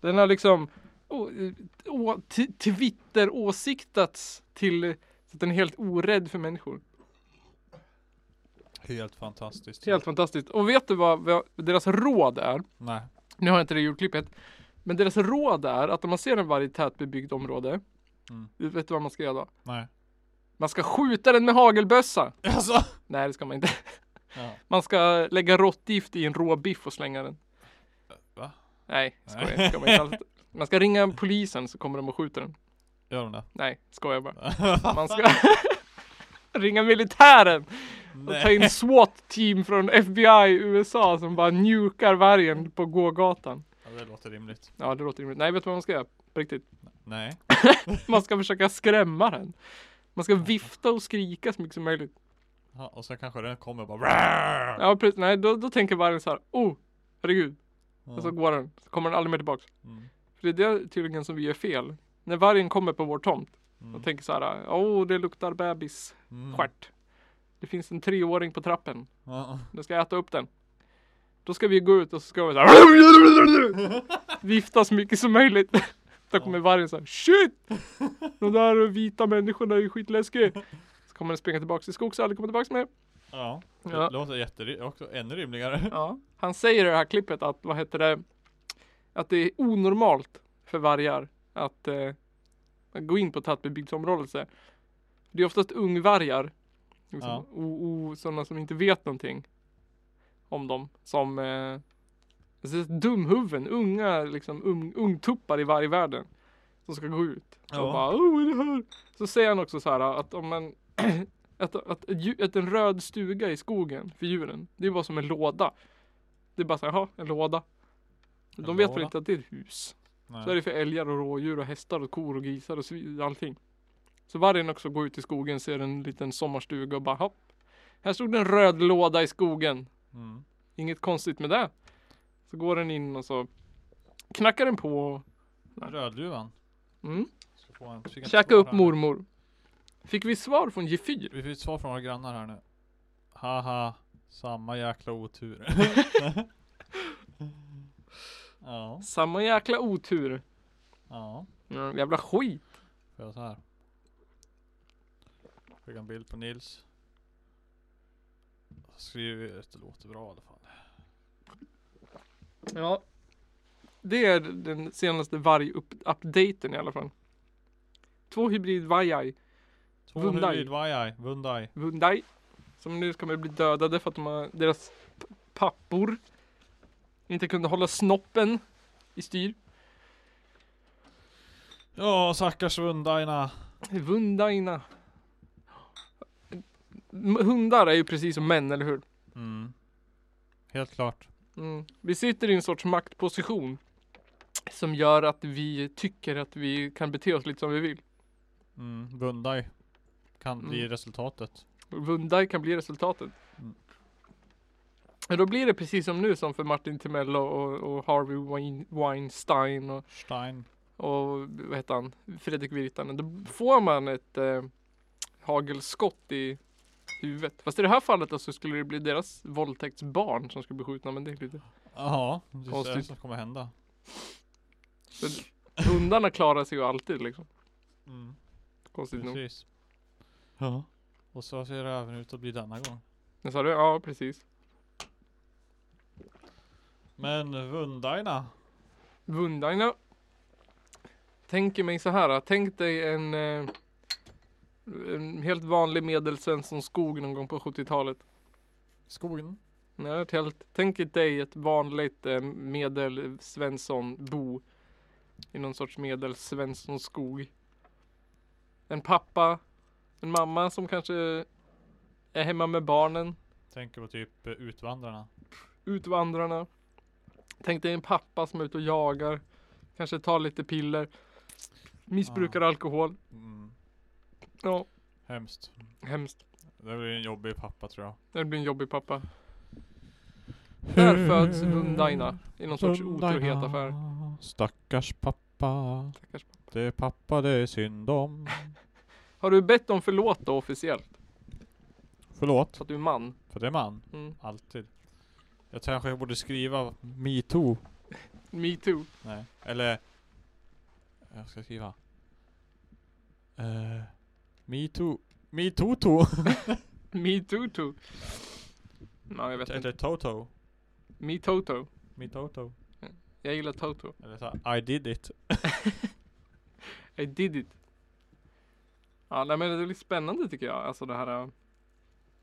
Speaker 1: Den har liksom å- å- t- Twitter-åsiktats till så att den är helt orädd för människor.
Speaker 2: Helt fantastiskt.
Speaker 1: Helt fantastiskt. Och vet du vad, vad deras råd är?
Speaker 2: Nej.
Speaker 1: Nu har jag inte det ljudklippet. Men deras råd är att om man ser en varg i ett tätbebyggt område.
Speaker 2: Mm.
Speaker 1: Vet du vad man ska göra då?
Speaker 2: Nej.
Speaker 1: Man ska skjuta den med hagelbössa.
Speaker 2: Alltså.
Speaker 1: Nej det ska man inte.
Speaker 2: Ja.
Speaker 1: Man ska lägga råttgift i en rå biff och slänga den.
Speaker 2: Va?
Speaker 1: Nej, skojar.
Speaker 2: Nej.
Speaker 1: det ska man inte alls. Man ska ringa polisen så kommer de och skjuter den.
Speaker 2: Gör de det?
Speaker 1: Nej, skojar bara. Man ska ringa militären och ta in SWAT-team från FBI i USA som bara nukar vargen på gågatan.
Speaker 2: Ja, det låter rimligt.
Speaker 1: Ja, det låter rimligt. Nej, vet du vad man ska göra? På riktigt.
Speaker 2: Nej.
Speaker 1: Man ska försöka skrämma den. Man ska vifta och skrika så mycket som möjligt.
Speaker 2: Ja, och sen kanske den kommer och bara.
Speaker 1: Ja, precis. Nej, då, då tänker vargen så här. Oh, herregud. Och så
Speaker 2: Ja.
Speaker 1: går den. Så kommer den aldrig mer tillbaks.
Speaker 2: Mm.
Speaker 1: För det är det tydligen som vi gör fel. När vargen kommer på vår tomt
Speaker 2: Mm.
Speaker 1: och tänker så här. Åh, oh, det luktar bebis.
Speaker 2: Mm.
Speaker 1: Stjärt. Det finns en treåring på trappen.
Speaker 2: Ja.
Speaker 1: Den ska äta upp den. Då ska vi gå ut och så ska vi så här. Vifta så mycket som möjligt. Då kommer vargen så här. Shit! De där vita människorna är ju skitläskiga. Så kommer den springa tillbaks till skogs och aldrig komma tillbaks mer.
Speaker 2: ja. Det
Speaker 1: Ja.
Speaker 2: låter jätterim- också ännu rimligare.
Speaker 1: Ja. Han säger i det här klippet att, vad heter det? Att det är onormalt för vargar att eh, gå in på tätbebyggt område. så här. Det är oftast ungvargar. Liksom,
Speaker 2: Ja.
Speaker 1: o, o, sådana som inte vet någonting om dem. Som eh, alltså, dumhuvuden, unga liksom, ung, ungtuppar i vargvärlden. Som ska gå ut.
Speaker 2: Ja.
Speaker 1: Och bara, oh, vad är det här? Så säger han också så här att om man att, att, ett dju- att en röd stuga i skogen för djuren, det är bara som en låda. Det är bara så här, jaha, en låda. De
Speaker 2: En
Speaker 1: vet väl
Speaker 2: låda?
Speaker 1: inte att det är ett hus. Så är
Speaker 2: Nej.
Speaker 1: det för älgar och rådjur och hästar och kor och grisar och svin, allting. Så vargen också går ut i skogen, ser en liten sommarstuga och bara hopp. Här stod det en röd låda i skogen.
Speaker 2: Mm.
Speaker 1: Inget konstigt med det. Så går den in och så knackar den på.
Speaker 2: Rödluvan.
Speaker 1: Mm.
Speaker 2: Ska få en- fick en
Speaker 1: Käka
Speaker 2: svar
Speaker 1: upp
Speaker 2: här.
Speaker 1: mormor. Fick vi svar från G4?
Speaker 2: Vi fick svar från våra grannar här nu. Haha. Samma jäkla otur. ja.
Speaker 1: Samma jäkla otur.
Speaker 2: Ja.
Speaker 1: Mm, jävla skit.
Speaker 2: Får jag så här. Skicka en bild på Nils. Skriv ut, det låter bra i alla fall.
Speaker 1: Ja. Det är den senaste varg-updaten i alla fall. Två hybrid vajaj,
Speaker 2: Två
Speaker 1: Vundai.
Speaker 2: hybrid Vajaj, Vundai.
Speaker 1: Vundai, som nu kommer bli dödade för att de har, deras p- pappor inte kunde hålla snoppen i styr.
Speaker 2: Ja, stackars Vundaina.
Speaker 1: Vundaina. M- Hundar är ju precis som män, eller hur?
Speaker 2: Mm. Helt klart.
Speaker 1: Mm. Vi sitter i en sorts maktposition som gör att vi tycker att vi kan bete oss lite som vi vill.
Speaker 2: Mm. Vundai. Kan bli
Speaker 1: Mm.
Speaker 2: resultatet.
Speaker 1: Vundai kan bli resultatet.
Speaker 2: Mm.
Speaker 1: Men då blir det precis som nu som för Martin Timello och, och Harvey Wein, Weinstein och,
Speaker 2: Stein.
Speaker 1: och vad heter han? Fredrik Virtanen. Då får man ett eh, hagelskott i huvudet. Fast i det här fallet alltså skulle det bli deras våldtäktsbarn som skulle bli skjutna. Men det är lite.
Speaker 2: Jaha, det är det
Speaker 1: Konstigt.
Speaker 2: som kommer hända.
Speaker 1: Men hundarna klarar sig ju alltid liksom.
Speaker 2: Mm.
Speaker 1: Konstigt Typ nog.
Speaker 2: Precis. Ja. Och så ser det även ut att bli denna gång.
Speaker 1: Men sa du? Ja precis.
Speaker 2: Men Vundaina.
Speaker 1: Vundaina. Tänker mig så här. Tänk dig en, eh, en helt vanlig medelsvensson skog någon gång på 70-talet.
Speaker 2: Skogen.
Speaker 1: Nej, ett helt, tänk dig ett vanligt eh, medelsvenssonbo i någon sorts medelsvenssonskog. skog. En pappa, en mamma som kanske är hemma med barnen,
Speaker 2: Tänker på typ eh, Utvandrarna.
Speaker 1: utvandrarna. Tänk dig en pappa som är ute och jagar, kanske tar lite piller, missbrukar alkohol.
Speaker 2: Mm.
Speaker 1: Ja,
Speaker 2: Hemskt.
Speaker 1: hemskt.
Speaker 2: Det blir en jobbig pappa tror jag.
Speaker 1: Det blir en jobbig pappa. Där föds Vundaina i någon sorts otrohetsaffär.
Speaker 2: Stackars pappa.
Speaker 1: Stackars pappa.
Speaker 2: Det är pappa det är synd om.
Speaker 1: Har du bett om förlåt då officiellt?
Speaker 2: Förlåt,
Speaker 1: För att du är man?
Speaker 2: för det är man.
Speaker 1: Mm.
Speaker 2: Alltid. Jag tror kanske jag borde skriva metoo.
Speaker 1: Me too.
Speaker 2: Nej. Eller... Jag ska skriva. Uh, metoo. Metoo-to.
Speaker 1: Me too too. Ja, jag vet inte.
Speaker 2: Eller Toto.
Speaker 1: Me Toto.
Speaker 2: Metoto.
Speaker 1: Jag gillar Toto.
Speaker 2: Eller så här, I did it.
Speaker 1: I did it. Ja, nej, men det är lite spännande tycker jag. Alltså det här. eh,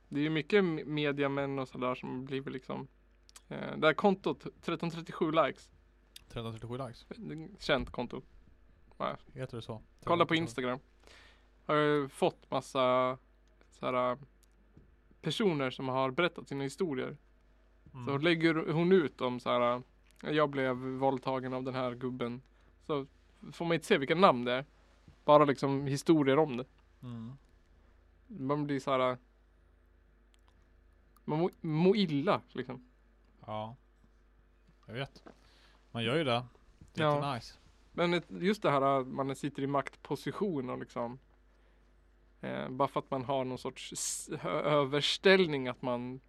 Speaker 1: Det är ju mycket me- mediamän och sådär som blivit liksom. Eh, det här kontot, 1337 likes.
Speaker 2: 337 likes.
Speaker 1: Det är ett Känt konto.
Speaker 2: Heter det så?
Speaker 1: Kolla på
Speaker 2: 337.
Speaker 1: Instagram. Har ju fått massa såhär, eh, personer som har berättat sina historier. Så
Speaker 2: Mm.
Speaker 1: lägger hon ut om så här. Jag blev våldtagen av den här gubben. Så får man inte se vilka namn det är. Bara liksom historier om det.
Speaker 2: Mm.
Speaker 1: Man blir så här. äh, Man mår må illa liksom.
Speaker 2: Ja. Jag vet. Man gör ju det. Det är
Speaker 1: Ja.
Speaker 2: inte nice.
Speaker 1: Men ett- just det här att man sitter i maktposition och liksom. Eh, bara för att man har någon sorts s- ö- överställning att man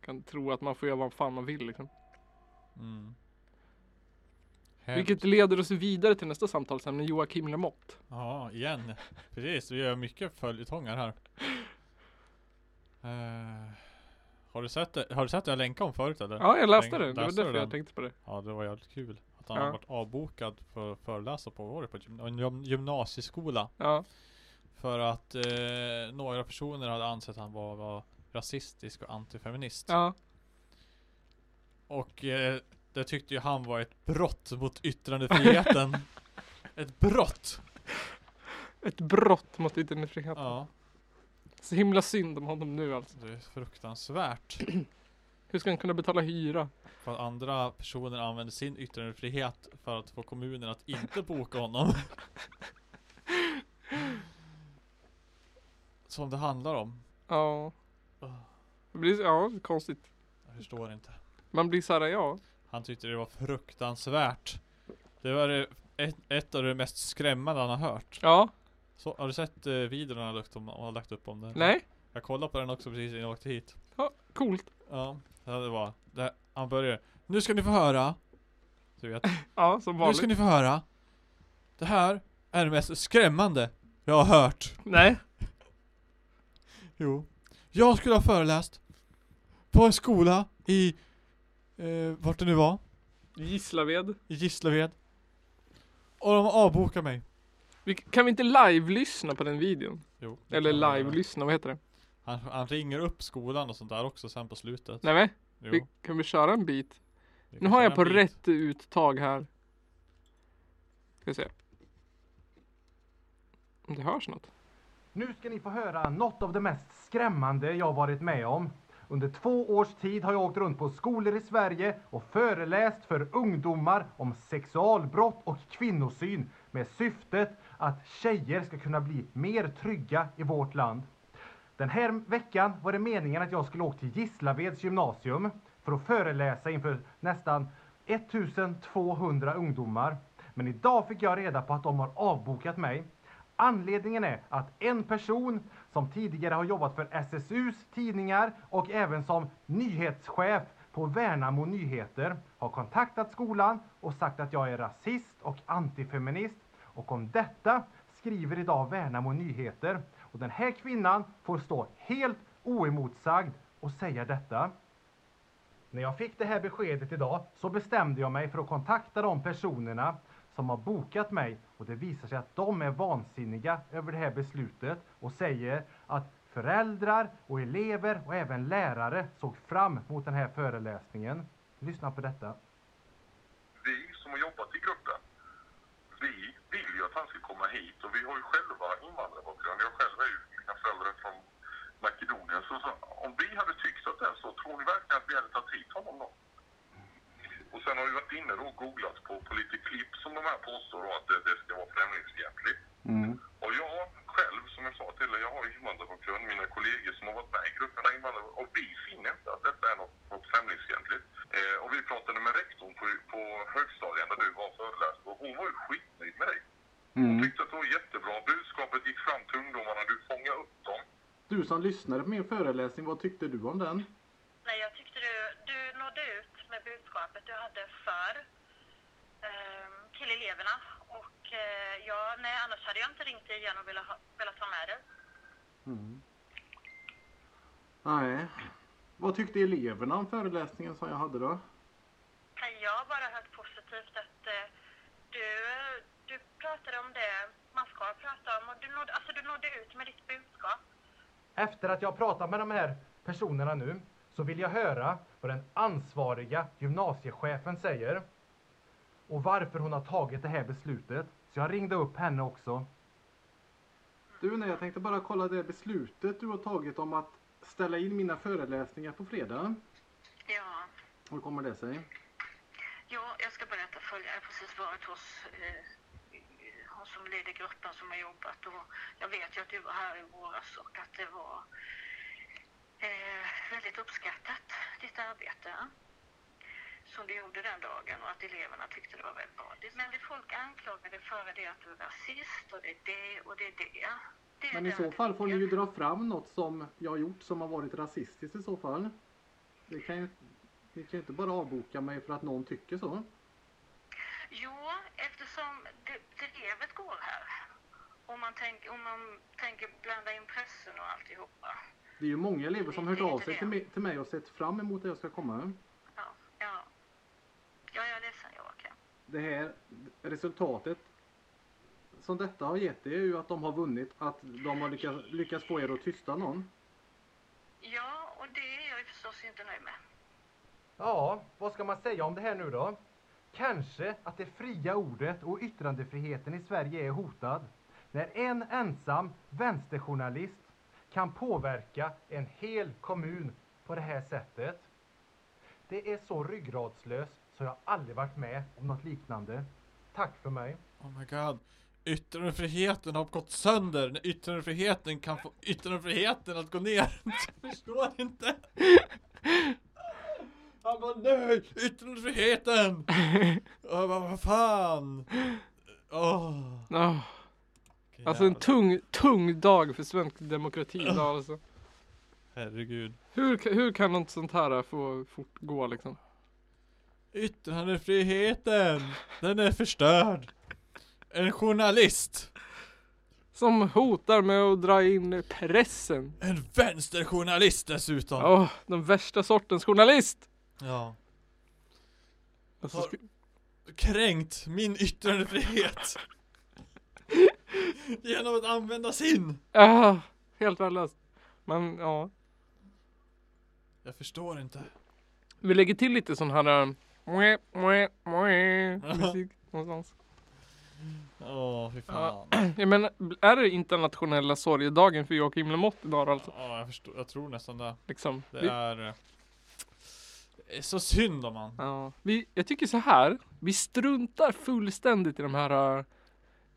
Speaker 1: kan tro att man får göra vad fan man vill liksom.
Speaker 2: Mm. Eh,
Speaker 1: Vilket leder oss vidare till nästa samtalsämne, Joakim Lamotte.
Speaker 2: Ja, igen. Precis, vi gör mycket följetongar här. Eh, har, du sett det? har du sett det jag länkade om förut eller?
Speaker 1: Ja, jag läste
Speaker 2: Tänk-
Speaker 1: det. Det var
Speaker 2: läste du
Speaker 1: därför jag
Speaker 2: den?
Speaker 1: tänkte på det.
Speaker 2: Ja, det var jävligt kul. Att han
Speaker 1: Ja.
Speaker 2: har varit avbokad för att föreläsa på, vad var det, på gym- en gym- gymnasieskola.
Speaker 1: Ja,
Speaker 2: För att eh, några personer hade ansett att han var, var rasistisk och antifeminist.
Speaker 1: ja,
Speaker 2: Och eh, det tyckte ju han var ett brott mot yttrandefriheten. ett brott!
Speaker 1: ett brott mot yttrandefriheten.
Speaker 2: Ja,
Speaker 1: Så himla synd om honom nu alltså.
Speaker 2: det är fruktansvärt.
Speaker 1: Hur ska han kunna betala hyra?
Speaker 2: För att andra personer använder sin yttrandefrihet för att få kommunen att inte boka honom. Som det handlar om.
Speaker 1: Ja,
Speaker 2: Ah,
Speaker 1: det blir, ja konstigt.
Speaker 2: Jag förstår inte.
Speaker 1: Man blir såhär, ja.
Speaker 2: Han tyckte det var fruktansvärt. Det var det, ett, ett av det mest skrämmande han har hört.
Speaker 1: Ja,
Speaker 2: Så, har du sett eh, videon han har lagt, om, han har lagt upp om det?
Speaker 1: nej,
Speaker 2: Jag kollade på den också precis innan jag åkte hit.
Speaker 1: coolt.
Speaker 2: Ja, det här var. Det, han började. Nu ska ni få höra. Du vet.
Speaker 1: Ja, som
Speaker 2: Nu
Speaker 1: vanligt.
Speaker 2: ska ni få höra. Det här är det mest skrämmande jag har hört.
Speaker 1: Nej,
Speaker 2: Jo. Jag skulle ha föreläst på en skola i... Eh, vart det nu var.
Speaker 1: Gislaved.
Speaker 2: I Gislaved. Och de avbokade mig.
Speaker 1: Vi, kan vi inte live-lyssna på den videon?
Speaker 2: Jo.
Speaker 1: Eller live-lyssna, vad heter det?
Speaker 2: Han, han ringer upp skolan och sånt där också sen på slutet.
Speaker 1: Nej, men,
Speaker 2: Jo,
Speaker 1: vi, kan vi köra en bit?
Speaker 2: vi
Speaker 1: Nu
Speaker 2: kan
Speaker 1: har jag
Speaker 2: köra
Speaker 1: på
Speaker 2: en bit.
Speaker 1: rätt uttag här. Ska se. Om det hörs något.
Speaker 5: Nu ska ni få höra något av det mest skrämmande jag varit med om. Under två års tid har jag åkt runt på skolor i Sverige och föreläst för ungdomar om sexualbrott och kvinnosyn med syftet att tjejer ska kunna bli mer trygga i vårt land. Den här veckan var det meningen att jag skulle åka till Gislaveds gymnasium för att föreläsa inför nästan 1200 ungdomar. Men idag fick jag reda på att de har avbokat mig. Anledningen är att en person som tidigare har jobbat för SSUs tidningar och även som nyhetschef på Värnamo Nyheter har kontaktat skolan och sagt att jag är rasist och antifeminist. Och om detta skriver idag Värnamo Nyheter. Och den här kvinnan får stå helt oemotsagd och säga detta. När jag fick det här beskedet idag så bestämde jag mig för att kontakta de personerna som har bokat mig och det visar sig att de är vansinniga över det här beslutet och säger att föräldrar och elever och även lärare såg fram mot den här föreläsningen. Lyssna på detta.
Speaker 6: vi som har jobbat i gruppen, vi vill ju att han ska komma hit och vi har ju själva invandrarbakgrund. Jag själv är ju, mina föräldrar är från Makedonien. Så, så om vi hade tyckt att det är så, tror ni verkligen att vi hade tagit hit honom då? Och sen har vi varit inne då och googlat på, på lite klipp som de här påstår då att det, det ska vara främlingsfientligt. Och jag själv, som jag sa till er, jag har ju invandrarbakgrund. Mina kollegor som har varit med i gruppen har invandrarbakgrund. Och vi finner inte att detta är något, något främlingsfientligt. Eh, och vi pratade med rektorn på, på högstadien där du var och föreläste och hon var ju skitnöjd med dig. Hon tyckte att det var jättebra. Budskapet gick fram till ungdomarna, du fångade upp dem.
Speaker 7: Du som lyssnade på min föreläsning, vad tyckte du om den?
Speaker 8: Nej, jag tyckte du, du nådde ut
Speaker 7: ehm, eh, velat ha med det.
Speaker 8: Mm. Nej. Vad tyckte eleverna om föreläsningen som jag hade då?
Speaker 7: Nej, Jag har bara hört positivt att eh, du, du pratade om det man ska prata om och du nådde, alltså, du nådde ut med ditt budskap.
Speaker 5: Efter att jag pratat med de här personerna nu så vill jag höra vad den ansvariga gymnasiechefen säger och varför hon har tagit det här beslutet. Så jag ringde upp henne också.
Speaker 8: Du, nej, jag tänkte bara kolla det beslutet du har tagit om att ställa in mina föreläsningar på fredag.
Speaker 7: Ja,
Speaker 8: Hur kommer det sig?
Speaker 7: ja jag ska börja att följa. Jag har precis varit hos eh, hon som leder gruppen som har jobbat och jag vet ju att du var här i våras och att det var eh, väldigt uppskattat, ditt arbete som du gjorde den dagen och att eleverna tyckte det var väldigt bra. Det- Men det folk anklagade för det är att du är rasist och det är det och det är det. det är
Speaker 8: Men i
Speaker 7: den
Speaker 8: så fall får ni ju
Speaker 7: kritiken.
Speaker 8: dra fram något som jag har gjort som har varit rasistiskt i så fall. Det kan ju, ni kan ju inte bara avboka mig för att någon tycker så.
Speaker 7: Jo, eftersom det- drevet går här. Om man, tänk, om man tänker blanda in pressen och alltihopa.
Speaker 8: Det är ju många elever som har hört
Speaker 7: Det är
Speaker 8: av
Speaker 7: inte
Speaker 8: sig
Speaker 7: det.
Speaker 8: till mig, till mig och sett fram emot att jag ska komma.
Speaker 7: Ja, ja. Ja, jag är ledsen Joakim.
Speaker 8: Det här resultatet som detta har gett det är ju att de har vunnit, att de har lyckats, lyckats få er att tysta någon.
Speaker 7: Ja, och det är jag ju förstås inte nöjd med.
Speaker 5: Ja, vad ska man säga om det här nu då? Kanske att det fria ordet och yttrandefriheten i Sverige är hotad. När en ensam vänsterjournalist kan påverka en hel kommun på det här sättet. Det är så ryggradslöst så jag aldrig varit med om något liknande. Tack för mig.
Speaker 2: Oh my god. Yttrandefriheten har gått sönder när yttrandefriheten kan få yttrandefriheten att gå ner. Jag förstår inte. Han bara nej, yttrandefriheten! Och jag bara vad fan? Åh.
Speaker 1: Ah, alltså en tung, tung dag för svensk demokrati idag alltså.
Speaker 2: Herregud.
Speaker 1: Hur, ka- hur kan något sånt här få fortgå liksom?
Speaker 2: Yttrandefriheten! Den är förstörd! En journalist!
Speaker 1: Som hotar med att dra in pressen.
Speaker 2: En vänsterjournalist dessutom!
Speaker 1: Åh, den värsta sortens journalist!
Speaker 2: ja.
Speaker 1: Alltså,
Speaker 2: Har-
Speaker 1: sk-
Speaker 2: kränkt min yttrandefrihet Genom att använda sin
Speaker 1: ah, helt värdelöst. Men ja,
Speaker 2: Jag förstår inte
Speaker 1: vi lägger till lite sån här um, mwah, mwah, mwah, musik någonstans.
Speaker 2: Åh fy
Speaker 1: Ja.
Speaker 2: fan
Speaker 1: Jag menar, är det internationella sorgedagen för Joakim Lamotte idag alltså?
Speaker 2: Ja jag förstår, jag tror nästan det
Speaker 1: Liksom.
Speaker 2: Det
Speaker 1: Vi-
Speaker 2: är eh, det är så synd om han
Speaker 1: Ja, vi, jag tycker så här. Vi struntar fullständigt i de här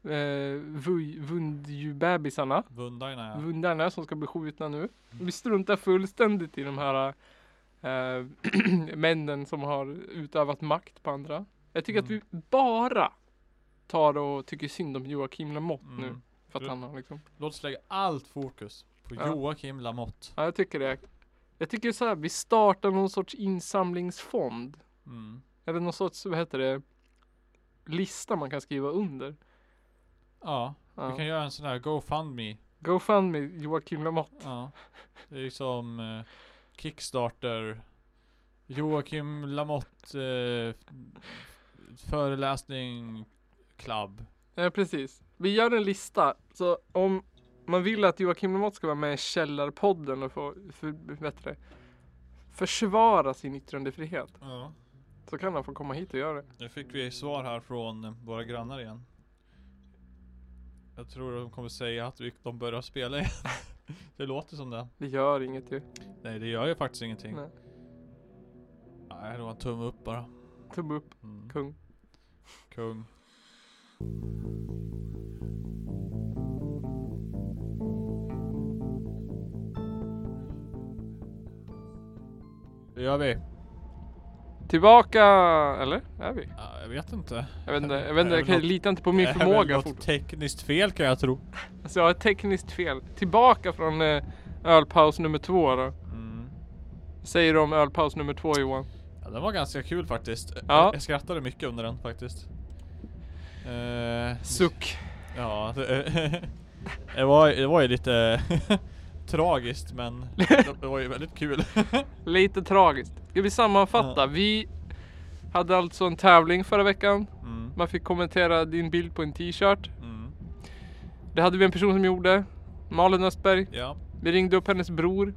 Speaker 1: eh, vuj- Vundjubebisarna,
Speaker 2: Vundarna ja
Speaker 1: Vundarna som ska bli skjutna nu. Vi struntar fullständigt i de här eh, männen som har utövat makt på andra. Jag tycker
Speaker 2: Mm.
Speaker 1: att vi bara tar och tycker synd om Joakim Lamotte nu.
Speaker 2: Mm.
Speaker 1: För att han har liksom.
Speaker 2: Låt oss lägga allt fokus på
Speaker 1: Ja.
Speaker 2: Joakim Lamotte
Speaker 1: Ja, jag tycker det. Jag tycker så här. Vi startar någon sorts insamlingsfond.
Speaker 2: mm.
Speaker 1: Eller någon sorts, vad heter det? Lista man kan skriva under.
Speaker 2: Ja, vi
Speaker 1: Ja.
Speaker 2: kan göra en sån här GoFundMe
Speaker 1: GoFundMe Joakim Lamotte.
Speaker 2: Ja Det är liksom eh, Kickstarter Joakim Lamotte eh, Föreläsning Club
Speaker 1: Ja, Eh, precis. Vi gör en lista. Så om man vill att Joakim Lamotte ska vara med i Källarpodden och få för, bättre, försvara sin yttrandefrihet
Speaker 2: Ja
Speaker 1: så kan han få komma hit och göra det.
Speaker 2: Nu fick vi svar här från eh, våra grannar igen Jag tror de kommer säga att vi, de börjar spela igen Det låter som det
Speaker 1: Det gör inget ju.
Speaker 2: Nej det gör ju faktiskt ingenting
Speaker 1: Nej.
Speaker 2: Nej det var en tumme upp bara
Speaker 1: Tumme upp,
Speaker 2: mm.
Speaker 1: kung.
Speaker 2: Kung Det gör vi.
Speaker 1: Tillbaka, eller? Är vi?
Speaker 2: Ja, jag vet inte.
Speaker 1: Jag vet inte, jag, vet inte, jag
Speaker 2: Det är
Speaker 1: kan,
Speaker 2: väl
Speaker 1: litar inte på min
Speaker 2: Det är väl
Speaker 1: förmåga
Speaker 2: något
Speaker 1: fortfarande.
Speaker 2: tekniskt fel kan jag tro.
Speaker 1: Alltså jag har ett tekniskt fel. Tillbaka från eh, ölpaus nummer två då. Säger du om ölpaus nummer två Johan?
Speaker 2: Ja, den var ganska kul faktiskt.
Speaker 1: Ja.
Speaker 2: Jag, jag skrattade mycket under den faktiskt. Eh,
Speaker 1: Suck.
Speaker 2: ja, det, Det var, det var ju lite tragiskt men det var ju väldigt kul.
Speaker 1: Lite tragiskt. Ska vi sammanfatta? Vi hade alltså en tävling förra veckan.
Speaker 2: Mm.
Speaker 1: Man fick kommentera din bild på en t-shirt.
Speaker 2: Mm.
Speaker 1: Det hade vi en person som gjorde. Malin Östberg.
Speaker 2: Ja.
Speaker 1: Vi ringde upp hennes bror.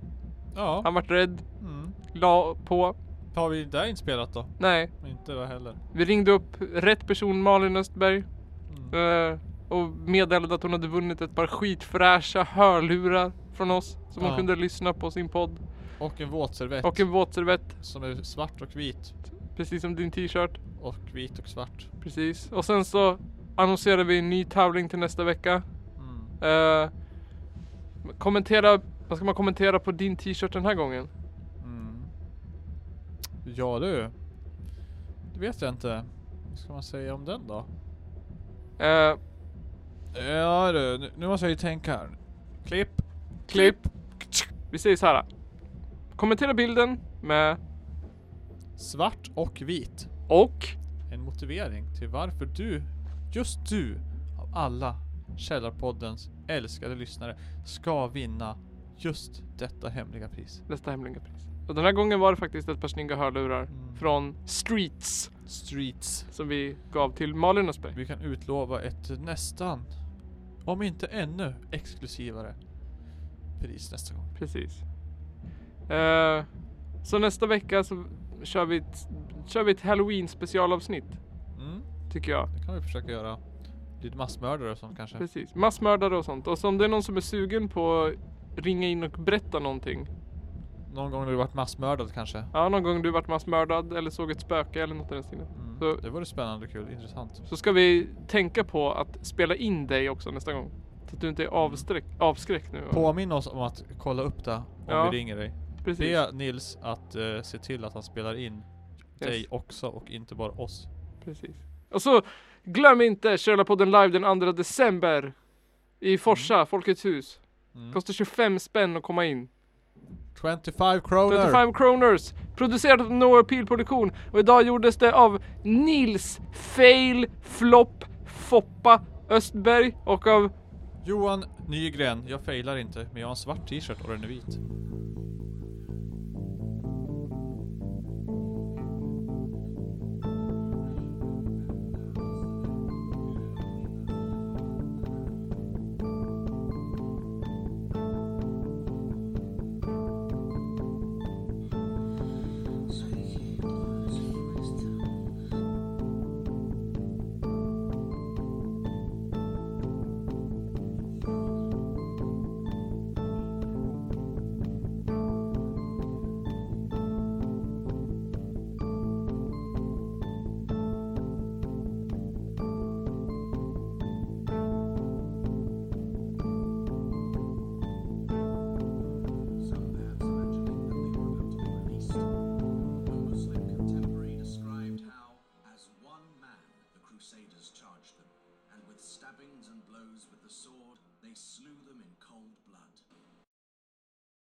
Speaker 2: Ja.
Speaker 1: Han vart rädd.
Speaker 2: Mm.
Speaker 1: La på.
Speaker 2: Har vi det inspelat då?
Speaker 1: Nej.
Speaker 2: Inte det heller.
Speaker 1: Vi ringde upp rätt person, Malin Östberg. eh, Och meddelade att hon hade vunnit ett par skitfräscha hörlurar från oss. Som
Speaker 2: Ja.
Speaker 1: hon kunde lyssna på sin podd.
Speaker 2: Och en våtservett.
Speaker 1: Och en våtservett.
Speaker 2: Som är svart och vit.
Speaker 1: Precis som din t-shirt.
Speaker 2: Och vit och svart.
Speaker 1: Precis. Och sen så annonserar vi en ny tävling till nästa vecka.
Speaker 2: Mm.
Speaker 1: Eh, kommentera, vad ska man kommentera på din t-shirt den här gången?
Speaker 2: Mm. Ja du. Det vet jag inte. Vad ska man säga om den då?
Speaker 1: Eh,
Speaker 2: Ja du, nu- nu måste jag ju tänka här. Klipp.
Speaker 1: klipp. Vi säger så här. Kommentera bilden med
Speaker 2: Svart och vit.
Speaker 1: och
Speaker 2: En motivering till varför du, just du, av alla Källarpoddens älskade lyssnare ska vinna just detta hemliga pris.
Speaker 1: nästa hemliga pris. Och den här gången var det faktiskt ett par snygga hörlurar
Speaker 2: Mm.
Speaker 1: från Streets
Speaker 2: Streets.
Speaker 1: som vi gav till Malin Östberg.
Speaker 2: Vi kan utlova ett nästan, om inte ännu, exklusivare pris nästa gång.
Speaker 1: Precis. Eh, så nästa vecka så kör vi ett, kör vi ett halloween specialavsnitt
Speaker 2: Mm,
Speaker 1: tycker jag.
Speaker 2: det kan vi försöka göra. Lite massmördare och sånt kanske.
Speaker 1: Precis, massmördare och sånt. Och så om det är någon som är sugen på att ringa in och berätta någonting.
Speaker 2: Någon gång när du varit massmördad kanske.
Speaker 1: Ja, någon gång du varit massmördad eller såg ett spöke eller något i den stilen.
Speaker 2: Mm.
Speaker 1: Så-
Speaker 2: Det vore spännande, kul, intressant.
Speaker 1: Så ska vi tänka på att spela in dig också nästa gång. Så att du
Speaker 2: Mm.
Speaker 1: inte är avsträck, avskräckt nu.
Speaker 2: Påminn oss om att kolla upp det om
Speaker 1: Ja.
Speaker 2: vi ringer dig.
Speaker 1: Precis.
Speaker 2: Be Nils att eh, se till att han spelar in
Speaker 1: Yes.
Speaker 2: dig också och inte bara oss.
Speaker 1: Precis. Och så glöm inte Källarpodden live den 2 december. I Forsa, Folkets hus.
Speaker 2: Mm.
Speaker 1: Kostar 25 spänn att komma in.
Speaker 2: 25 kronor!
Speaker 1: 35 Kroners. Producerat av No Appeal Produktion. Och idag gjordes det av Nils Fail Flopp Foppa Östberg och av
Speaker 2: Johan Nygren, jag failar inte men jag har en svart t-shirt och den är vit.
Speaker 9: Blows with the sword, they slew them in cold blood.